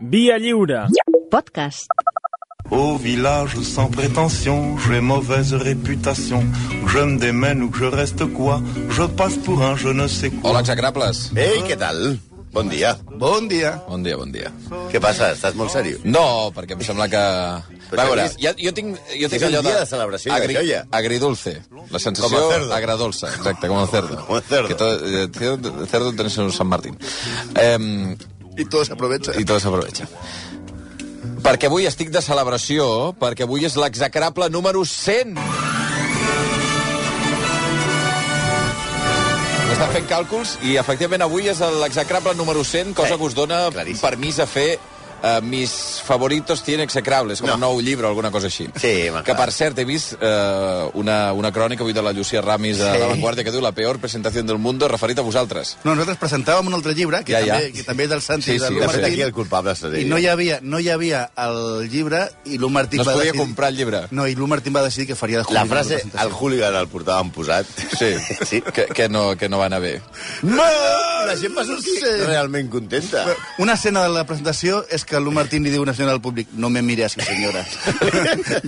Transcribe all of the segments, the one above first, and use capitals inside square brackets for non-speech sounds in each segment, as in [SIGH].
Via lliure. Podcast. Au village sans prétention, j'ai mauvaise réputation. Que je me démène ou que je reste quoi, je passe pour un je ne sais quoi. Hola, execrables. Ei, què tal? Bon dia. Bon dia. Bon dia, bon dia. Què passa? Estàs molt seriós? No, perquè em sembla que... Però Va, a veure, és- jo, jo tinc, jo tinc és un allò dia de celebració, això ja. Agridulce. La sensació Com el cerdo. agradolça. Exacte, com el cerdo. Com el cerdo. Que todo, eh, cerdo- cerdo tenés en San Martín. Eh, I tu s'aprovecha. I tot s'aprovecha. Perquè avui estic de celebració, perquè avui és l'execrable número 100. Està fent càlculs i, efectivament, avui és l'execrable número 100, cosa Sí, que us dona claríssim. permís a fer uh, mis favoritos tienen execrables, com No. no. un nou llibre o alguna cosa així. Sí, m'agrada. que, per cert, he vist uh, una, una crònica avui de la Llucia Ramis de Sí. La Vanguardia que diu la peor presentació del mundo referit a vosaltres. No, nosaltres presentàvem un altre llibre, que, Ja, ja, ja. també, que també és del Santi Sí, i sí, de de l'U De fet, Martín. aquí Martí, el culpable seré i no hi, havia, no hi havia el llibre, i l'U Martín No es va podia decidir... comprar el llibre. No, i l'U Martín va decidir que faria de La Julio frase, en el presentació. hooligan el portàvem posat. Sí, sí. Que, que, no, que no va anar bé. No! La gent va sortir Sí. realment contenta. Una escena de la presentació és que l'U Martín li diu una senyora al públic no me mire [LAUGHS] así, senyora.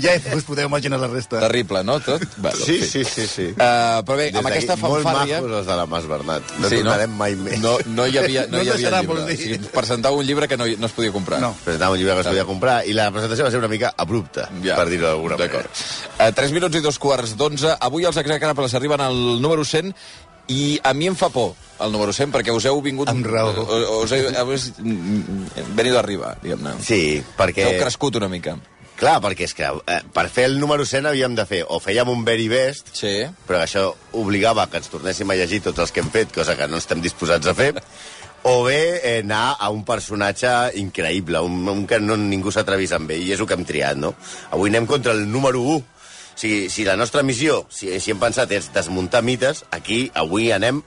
ja us podeu imaginar la resta. Terrible, no, tot? Bueno, Sí, sí, sí, sí. Uh, però bé, Des amb d'aquí, aquesta molt fanfàrria... macos els de la Mas Bernat. No Sí, tornarem mai més. No, no hi havia, no No hi havia deixarà, llibre. vols dir. O sigui, presentava un llibre que no, hi- no es podia comprar. No. Presentàvem un llibre que es podia comprar i la presentació va ser una mica abrupta, Ja. per dir-ho d'alguna manera. D'acord. Uh, 3 minuts i dos quarts d'onze. Avui els execrables arriben al número 100 i a mi em fa por el número 100 perquè us heu vingut... Amb raó. o- Us heu, habéis mm, venido arriba, diguem-ne. Sí, perquè... Heu crescut una mica. Clar, perquè és que eh, per fer el número 100 havíem de fer o fèiem un very best, Sí. però això obligava que ens tornéssim a llegir tots els que hem fet, cosa que no estem disposats a fer, o bé eh, anar a un personatge increïble, un, un que no, ningú s'atrevís amb ell, i és el que hem triat, no? Avui anem contra el número 1. O sigui, si la nostra missió, si, si hem pensat, és desmuntar mites, aquí avui anem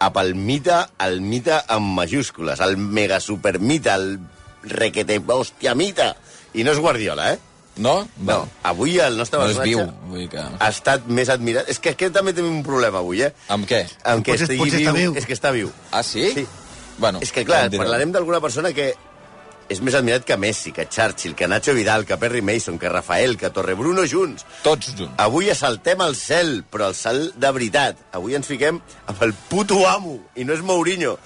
a pel mite, el mite amb majúscules, el mega supermite, el requete hòstia mite. I no és Guardiola, eh? No? No, avui el nostre No és personatge viu. Vull dir que... ha estat més admirat. És que aquest també tenim un problema avui, eh? Amb què? En què Ah, Potser- estigui potser està viu. És que està viu. Ah, sí? Sí. Bueno, És que, clar, ja em direu. parlarem d'alguna persona que és més admirat que Messi, que Churchill, que Nacho Vidal, que Perry Mason, que Rafael, que Torrebruno junts. Tots junts. Avui assaltem el cel, però el cel de veritat. Avui ens fiquem amb el puto amo, i no és Mourinho.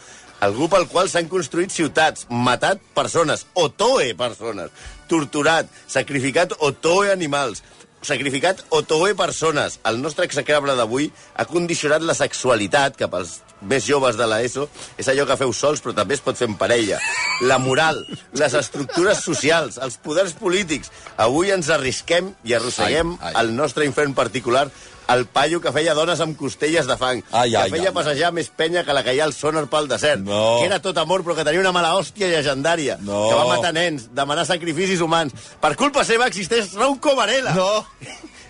Algú pel qual s'han construït ciutats, matat persones, o toe persones, torturat, sacrificat o toe animals, sacrificat o toe persones. El nostre execrable d'avui ha condicionat la sexualitat, que pels més joves de l'ESO és allò que feu sols, però també es pot fer en parella. La moral, les estructures socials, els poders polítics. Avui ens arrisquem i arrosseguem Ai, ai. el nostre infern particular el paio que feia dones amb costelles de fang, Ai, que ai, feia ai. passejar més penya que la que hi ha al sonar pel desert, No. que era tot amor però que tenia una mala hòstia llegendària, No. que va matar nens, demanar sacrificis humans. Per culpa seva existeix Rauco Varela. No.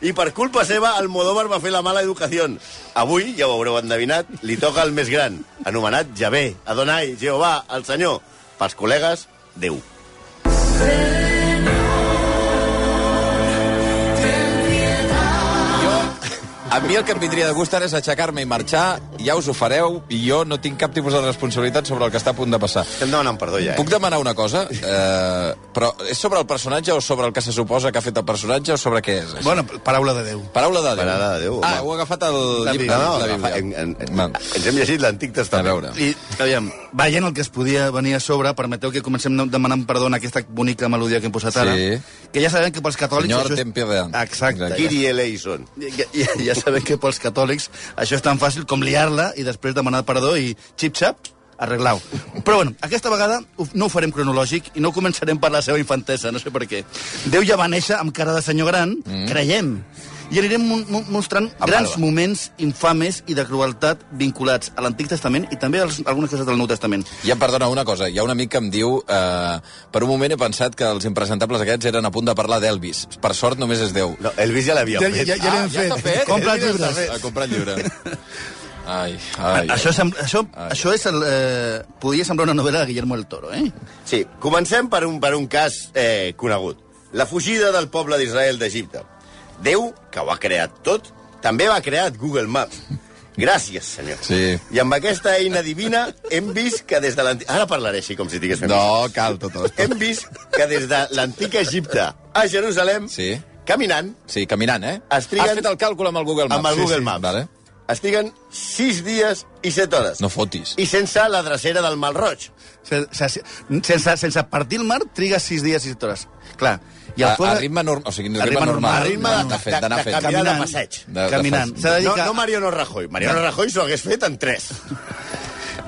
I per culpa seva, Almodóvar va fer la mala educació. Avui, ja ho haureu endevinat, li toca el més gran, anomenat Javé, Adonai, Jehovà, el senyor. Pels col·legues, Déu. A mi el que em vindria de gust ara és aixecar-me i marxar, ja us ho fareu, i jo no tinc cap tipus de responsabilitat sobre el que està a punt de passar. Estem demanant perdó ja, Puc eh? demanar una cosa? Eh, però és sobre el personatge o sobre el que se suposa que ha fet el personatge o sobre què és? això? Bona paraula de Déu. Paraula de Déu. Paraula de Déu, home. Ah, heu agafat el La llibre. Bíblia. la No, no, Bíblia. agafa- en, en, Va. en, ens hem llegit l'Antic A Testament. veure. I, aviam, veient el que es podia venir a sobre, permeteu que comencem demanant perdó en aquesta bonica melodia que hem posat ara, Sí. que ja sabem que pels catòlics... Senyor, això és- ten piedad. Exacte. Exacte. Kiri Eleison. Ja, ja, ja sabem que pels catòlics això és tan fàcil com liar-la i després demanar perdó i xip-xap, arreglau. Però bueno, aquesta vegada ho- no ho farem cronològic i no començarem per la seva infantesa, no sé per què. Déu ja va néixer amb cara de senyor gran, mm. creiem, i anirem mo- mo- mostrant Ah, Amb grans barba. moments infames i de crueltat vinculats a l'Antic Testament i també a les- algunes coses del Nou Testament. Ja, perdona, una cosa. Hi ha un amic que em diu... Eh, per un moment he pensat que els impresentables aquests eren a punt de parlar d'Elvis. Per sort només és Déu. No, Elvis ja l'havia fet. ja Ah, l'hem ja està fet. Ah, Compra Ja els està llibres. A comprar el llibre. Ai, ai. Això, sem- això, això és el, eh, podria semblar una novel·la de Guillermo del Toro, eh? Sí, comencem per un, per un cas eh, conegut. La fugida del poble d'Israel d'Egipte. Déu, que ho ha creat tot, també va crear Google Maps. Gràcies, senyor. Sí. I amb aquesta eina divina hem vist que des de l'antic... Ara parlaré així com si digués... fent- No, cal, tota l'estona. Hem vist que des de l'antic Egipte a Jerusalem, Sí. caminant, Sí, caminant, eh? Es triguen- Has fet el càlcul amb el Google Maps. amb el Sí, Google sí. Maps, Vale. estiguen 6 dies i 7 hores. No fotis. I sense la drecera del Malroig. Se- se- se- Sense, sense partir el mar, triga sis dies i set hores. Clar. I A, el a pobre- ritme normal, o sigui, A a ritme ritme normal. normal, ritme de- d'anar fent, d'anar de- de fent. caminar. Caminant. de passeig. De- de caminant. fas- S'ha de dir No, que... no Mariano Rajoy. Mariano Rajoy s'ho hagués fet en 3.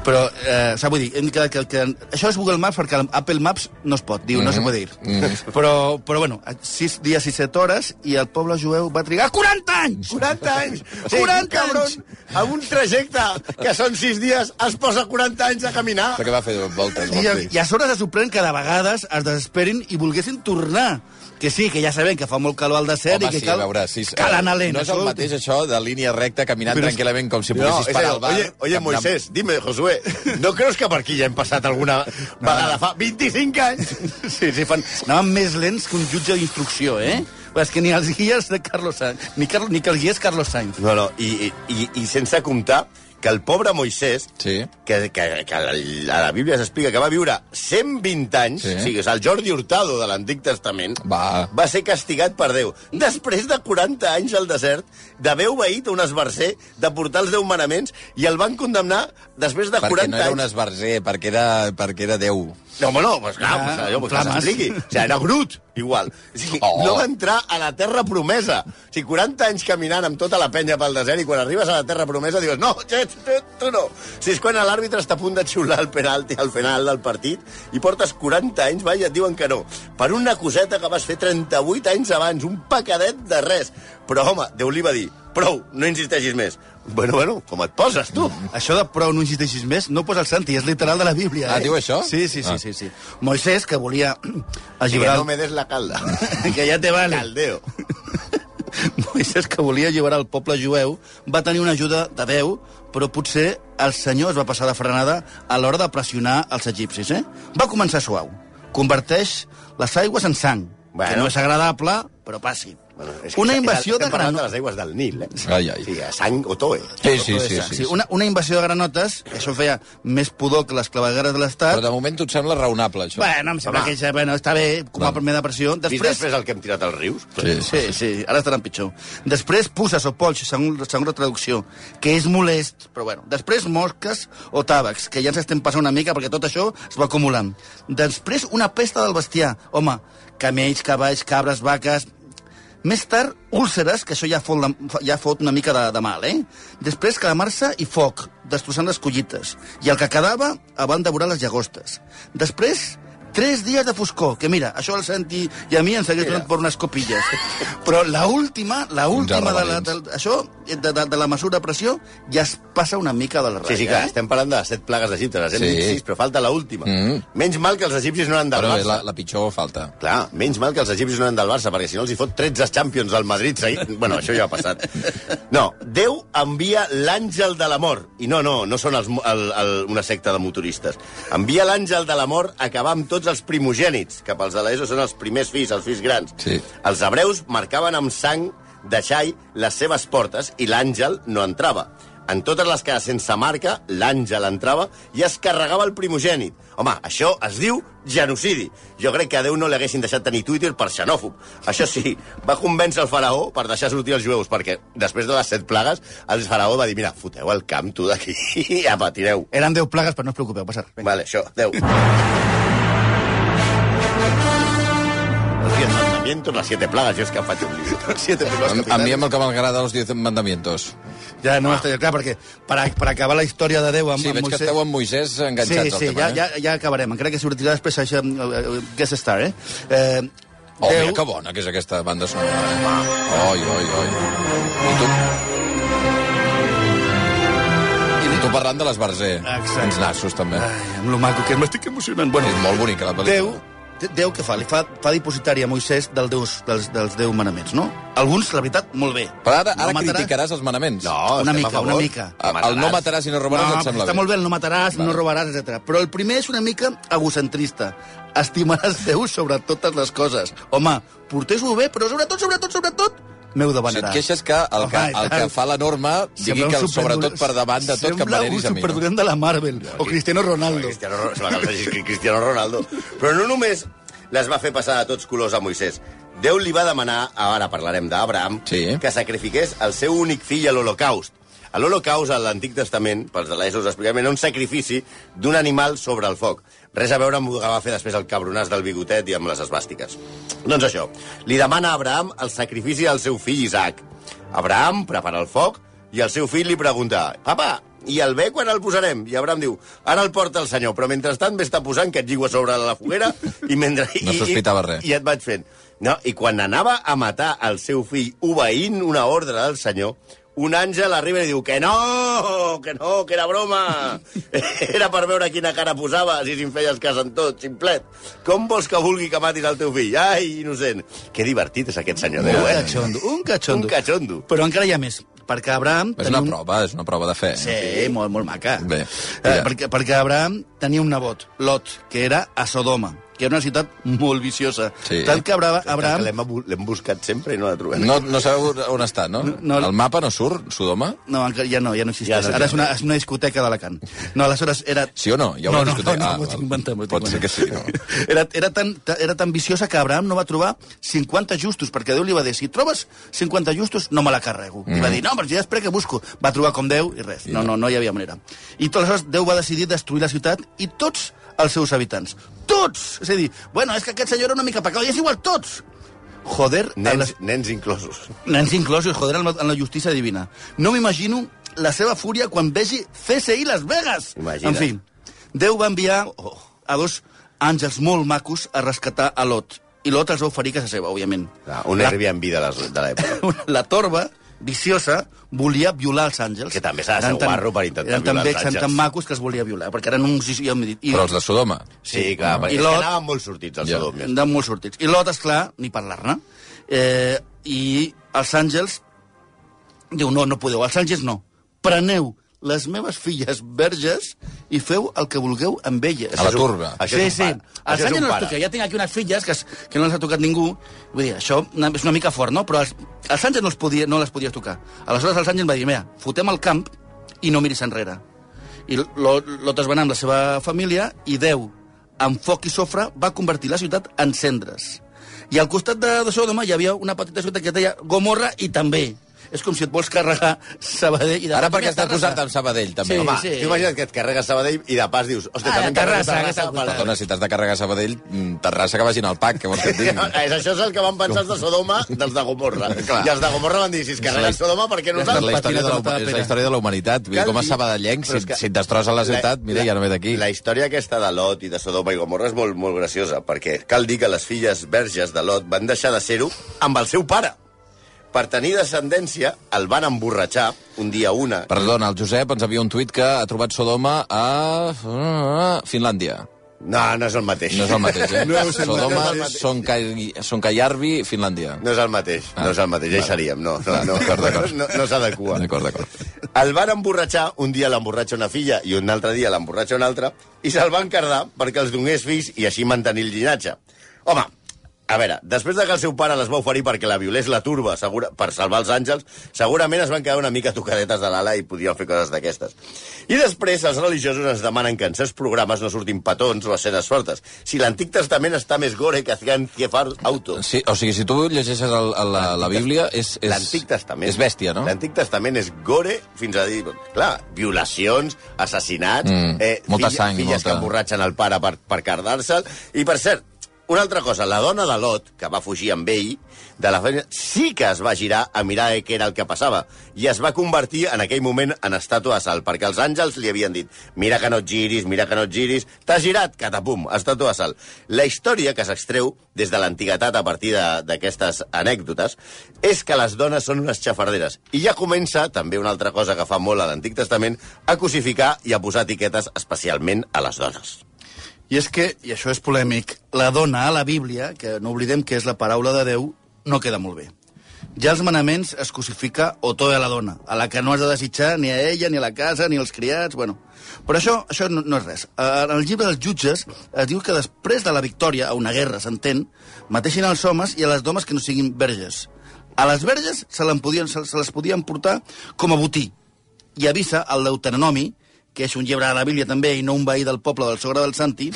Però, eh, s'ha vull dir, hem quedat que, que... Això és Google Maps perquè Apple Maps no es pot, diu, no se Mhm. pot dir. Però, però, bueno, sis dies i set hores i el poble jueu va trigar 40 anys! 40 anys! Sí, 40 cabron! cabron! Amb un trajecte que són 6 dies es posa 40 anys a caminar. Però que va fer voltes, I, a- voltes. I a sobre se sorprèn que de vegades es desesperin i volguessin tornar. Que sí, que ja sabem que fa molt calor al desert Home, i que sí, cal, a veure, sí, sí. cal anar lent. No és el escolta. mateix, això, de línia recta, caminant Però és- tranquil·lament, com si No, poguessis és parar allò, al bar... oye, oye caminant- Moisés, dime, Josué, ¿no creus que per aquí ja hem passat alguna vegada fa 25 anys? Sí, sí, fan... Anaven més lents que un jutge d'instrucció, eh? Però És que ni els guies de Carlos Sainz, ni, Carlo, ni que els guies Carlos Sainz. No, no, i, i, i sense comptar que el pobre Moisès, Sí. que, que, que a la, a la Bíblia s'explica que va viure 120 anys, Sí. sí. o sigui, és el Jordi Hurtado de l'Antic Testament, Va. va ser castigat per Déu. Després de 40 anys al desert, d'haver obeït a un esbarcer, de portar els 10 manaments, i el van condemnar després de Perquè 40 no era un anys. esbarzer, perquè era, perquè era Déu. No, home, no, pues clar, Ah, pues, allò, pues, que flames. s'expliqui. O sigui, era brut, igual. O sigui, Oh. No va entrar a la terra promesa. O sigui, 40 anys caminant amb tota la penya pel desert i quan arribes a la terra promesa dius no, tu, tu, tu no. O sigui, és quan l'àrbitre està a punt de xiular el penalti al final del partit i portes 40 anys, va, i et diuen que no. Per una coseta que vas fer 38 anys abans, un pecadet de res. Però, home, Déu li va dir, prou, no insisteixis més. Bueno, bueno, com et poses, tu? Això de prou no insisteixis més no posa el Santi, és literal de la Bíblia. Ah, eh? diu això? Sí, sí, sí. Ah. sí, sí. Moisès, que volia [CLEARS THROAT] Que alliberar... no me des la calda. [LAUGHS] que ja te vale. Caldeo. Moisès, que volia alliberar el poble jueu, va tenir una ajuda de Déu, però potser el senyor es va passar de frenada a l'hora de pressionar els egipcis, eh? Va començar suau. Converteix les aigües en sang, bueno. que Bueno. no és agradable, però passi. Bueno, és que una és- invasió de estem parlant granotes... de les aigües del Nil, eh? Ai, ai. Sí, a eh? sang o toe. Sí, sí, sí. sí, sí. una, una invasió de granotes, que això feia més pudor que les clavegueres de Però l'Estat. de moment tot sembla raonable, això. Bueno, em sembla Home. que ja, bueno, està bé, com a Bueno. primera depressió. Després... Després, després el que hem tirat als rius. Sí, sí. Sí, sí, ara estaran pitjor. Després, puces o polls, segons, segons la traducció, que és molest, però bueno. Després, mosques o tàbacs, que ja ens estem passant una mica perquè tot això es va acumulant. Després, una pesta del bestiar. Home, camells, cavalls, cabres, vaques... Més tard, úlceres, que això ja fot, la, ja fot una mica de, de mal, eh? Després, calamar-se i foc, destrossant les collites. I el que quedava, el van devorar les llagostes. Després, tres dies de foscor, que mira, això al Santi i a mi ens hagués donat per unes copilles. Però la última, la última de la, de, això, de, de, de la mesura de pressió, ja es passa una mica de la ratlla. Sí, sí, clar, eh? estem parlant de les set plagues d'Egipte, les hem Sí. sí. dit sis, però falta l'última. Mm. Menys mal que els egipcis no han del Però bé, Barça. la, la pitjor falta. Clar, menys mal que els egipcis no han del Barça, perquè si no els hi fot 13 Champions al Madrid seguit. [LAUGHS] Bueno, això ja ha passat. No, Déu envia l'àngel de l'amor. I no, no, no són els, mo- el, el, una secta de motoristes. Envia l'àngel de l'amor a acabar amb tots els primogènits, que pels de l'ESO són els primers fills, els fills grans. Sí. Els hebreus marcaven amb sang de xai les seves portes i l'àngel no entrava. En totes les cases sense marca, l'àngel entrava i es carregava el primogènit. Home, això es diu genocidi. Jo crec que a Déu no li haguessin deixat tenir Twitter per xenòfob. Això sí, [LAUGHS] va convèncer el faraó per deixar sortir els jueus, perquè després de les set plagues, el faraó va dir, mira, foteu el camp tu d'aquí, [LAUGHS] apa, tireu. eh? Eren deu plagues, però no us preocupeu, passa res. Vale, això, adeu. Los diez mandamientos, las siete plagas, jo és que em faig un [LAUGHS] lío. Siete A, plagues a mi amb el que m'agrada els 10 mandamientos. Ja no m'està... Clar, perquè per, a- per acabar la història de Déu amb, Sí, amb veig que Moisès- esteu amb Moisès Sí, enganxats sí, al tema. eh? ja, ja, ja acabarem. Encara que sortirà després això, eh, eh, Guest Star, eh? eh Oh, mira que bona que és aquesta banda sonora. eh? Oi, oi, oi. I tu... I tu parlant de l'esbarzer. Exacte. Ens nassos, també. Ai, amb lo maco que és, m'estic emocionant. Bueno, És molt bonica, la pel·lícula. Ah. Déu, Déu què fa? Li fa, fa dipositar a Moisès del deus, dels, dels deu manaments, no? Alguns, la veritat, molt bé. Però ara, ara No mataràs- criticaràs els manaments. No, Una estem a mica, favor. una mica. El, Ah, el no mataràs i no robaràs No, et sembla està bé. molt bé, el no mataràs, Vale. no robaràs, etc. Però el primer és una mica egocentrista. Estimaràs Déu sobre totes les coses. Home, portés-ho bé, però sobretot, sobretot, sobretot, m'heu de O sigui, venerar. et queixes que el que, Home, i el que tant. fa la norma digui Sembla que, un el, superdolent- sobretot per davant de tot, que em Sembla veneris a un mi. No? superdolent de la Marvel, o Cristiano Ronaldo. Cristiano, Ro- se va acabar de dir Cristiano Ronaldo. Però no només les va fer passar de tots colors a Moisès. Déu li va demanar, ara parlarem d'Abraham, Sí. que sacrifiqués el seu únic fill a l'Holocaust. A l'Holocaust, a l'Antic Testament, pels de l'ESO us expliquem, era un sacrifici d'un animal sobre el foc. Res a veure amb el que va fer després el cabronàs del bigotet i amb les esbàstiques. Doncs això, li demana a Abraham el sacrifici del seu fill Isaac. Abraham prepara el foc i el seu fill li pregunta «Papa, i el bé quan el posarem?» I Abraham diu «Ara el porta el senyor, però mentrestant m'està posant que et lligo a sobre la foguera i mentre... No i- i- sospitava res. I et vaig fent». No, I quan anava a matar el seu fill obeint una ordre del senyor, un àngel arriba i diu que no, que no, que era broma. [LAUGHS] Era per veure quina cara posaves i si em feies cas en tot, ximplet. Com vols que vulgui que matis el teu fill? Ai, innocent. Que divertit és aquest senyor Déu, Un eh? cachondo, un cachondo. Un cachondo. Però encara hi ha més, perquè Abraham... És tenia una un- prova, és una prova de fe. Sí, molt, molt maca. Bé, eh, ja. perquè, perquè Abraham tenia un nebot, Lot, que era a Sodoma, que era una ciutat molt viciosa. Sí. Tant que Abra Abraham... Abraham... L'hem abu- l'hem buscat sempre i no la trobem. No, no sabeu on està, no? no. El mapa no surt, Sodoma? No, encara, ja no, ja no existeix. Ja no, Ja no, ja Ara és no. una, és una discoteca d'Alacant. No, aleshores era... Sí o no? Ja ho no, vam no, discutir. no, no, Ah, m'ho estic val. inventant. m'ho estic Pot ser que sí, inventant. no? [LAUGHS] Era, era, tan, ta- era tan viciosa que Abraham no va trobar 50 justos, perquè Déu li va dir, si trobes 50 justos, no me la carrego. Mm. I va dir, no, però ja espera que busco. Va trobar com 10 i res. No, no, no hi havia manera. I tot aleshores Déu va decidir destruir la ciutat i tots els seus habitants. Tots! És a dir, bueno, és que aquest senyor era una mica pecador, i és igual, tots! Joder, a Nens, les- nens inclosos. Nens inclosos, joder, en la, en la justícia divina. No m'imagino la seva fúria quan vegi CSI Las Vegas. Imagina't. En fi, Déu va enviar oh, a dos àngels molt macos a rescatar a Lot. I Lot els va oferir casa seva, òbviament. [LAUGHS] Ah, un La- Airbnb de les- de l'època. la torba viciosa volia violar els àngels. Que també s'ha de ser Eren tan- guarro per intentar eren tan violar els becs, eren àngels. tan macos que els volia violar, perquè eren uns... I, i, i, [LAUGHS] Però els de Sodoma. Sí, clar, perquè I és que Lot- anaven molt sortits als Ja. Sodòmies. de molt sortits. I Lot, esclar, ni parlar-ne. Eh, I els àngels... Diu, no, no podeu, els àngels no. Preneu les meves filles verges i feu el que vulgueu amb elles. A la és un- turba. Això és un sí, sí. pare. Això Els és un àngels no els pare. toqueu. Ja tinc aquí unes filles que, es, que no les ha tocat ningú. Vull dir, això una- és una mica fort, no? Però els, els àngels no, els podia, no les podies tocar. Aleshores, els àngels va dir, mira, fotem el camp i no miris enrere. I Lot, Lot es va anar amb la seva família i Déu, amb foc i sofre, va convertir la ciutat en cendres. I al costat de, de Sodoma hi havia una petita ciutat que es deia Gomorra i també. És com si et vols carregar Sabadell i de Ara pas, perquè mira, has de Terrassa. posar-te amb Sabadell, també. Sí, Home, Home, sí. t'imagines Ah, que et carregues Sabadell i de pas dius... Hòstia, Ah, també em carrego Terrassa, Terrassa. aquesta per- Dona, si t'has de carregar Sabadell, mm, Terrassa que vagin al PAC, que vols que et [LAUGHS] digui. És, [LAUGHS] això és el que van pensar els de Sodoma dels de Gomorra. [LAUGHS] Clar. I els de Gomorra van dir, si es carreguen Sodoma, per què És la, nosaltres? història de la, Patina, és la Pere. història de la humanitat. Vull dir, Cal com a dir- sabadellenc, Però si, és que- si et destrossa la ciutat, mira, ja no ve d'aquí. La història aquesta de Lot i de Sodoma i Gomorra és molt, molt graciosa, perquè cal dir que les filles verges de Lot van deixar de ser-ho amb el seu pare. Per tenir descendència, el van emborratxar un dia una. Perdona, el Josep ens havia un tuit que ha trobat Sodoma a... a Finlàndia. No, no és el mateix. No és el mateix, eh? [LAUGHS] No és el Sodoma, mateix. Soncai- Soncaiarvi, Finlàndia. No és el mateix, no és el mateix, ja hi seríem. No, no, no, Ah. D'acord, no, d'acord. no, no s'adequa. D'acord, d'acord. El van emborratxar, un dia l'emborratxa una filla i un altre dia l'emborratxa una altra, i se'l van cardar perquè els donés fills i així mantenir el llinatge. Home, a veure, després de que el seu pare les va oferir perquè la violés la turba segura, per salvar els àngels, segurament es van quedar una mica tocadetes de l'ala i podien fer coses d'aquestes. I després els religiosos ens demanen que en certs programes no surtin petons o escenes fortes. Si l'Antic Testament està més gore que hacían ciefar autos. Sí, o sigui, si tu llegeixes el, el, la, la Bíblia, és, és, L'Antic Testament... és bèstia, no? L'Antic Testament és gore fins a dir... Clar, violacions, assassinats... eh, Mm, molta sang, Filles molta- que emborratxen el pare per, per cardar-se'l... I, per cert, una altra cosa, la dona de Lot, que va fugir amb ell, de la feina, sí que es va girar a mirar eh, què era el que passava i es va convertir en aquell moment en estàtua de sal, perquè els àngels li havien dit mira que no et giris, mira que no et giris, t'has girat, catapum, estàtua de sal. La història que s'extreu des de l'antiguitat a partir de- d'aquestes anècdotes és que les dones són unes xafarderes. I ja comença, també una altra cosa que fa molt a l'Antic Testament, a cosificar i a posar etiquetes especialment a les dones. I és que, i això és polèmic, la dona a la Bíblia, que no oblidem que és la paraula de Déu, no queda molt bé. Ja els manaments es cosifica o tota la dona, a la que no has de desitjar ni a ella, ni a la casa, ni als criats, bueno. Però això, això no, no és res. Eh, En el llibre dels jutges es diu que després de la victòria a una guerra, s'entén, mateixin als homes i a les domes que no siguin verges. A les verges se, l'en podien, se, se les podien portar com a botí. I avisa el deuteronomi, que és un llibre de la Bíblia també i no un veí del poble del sogre del Santi,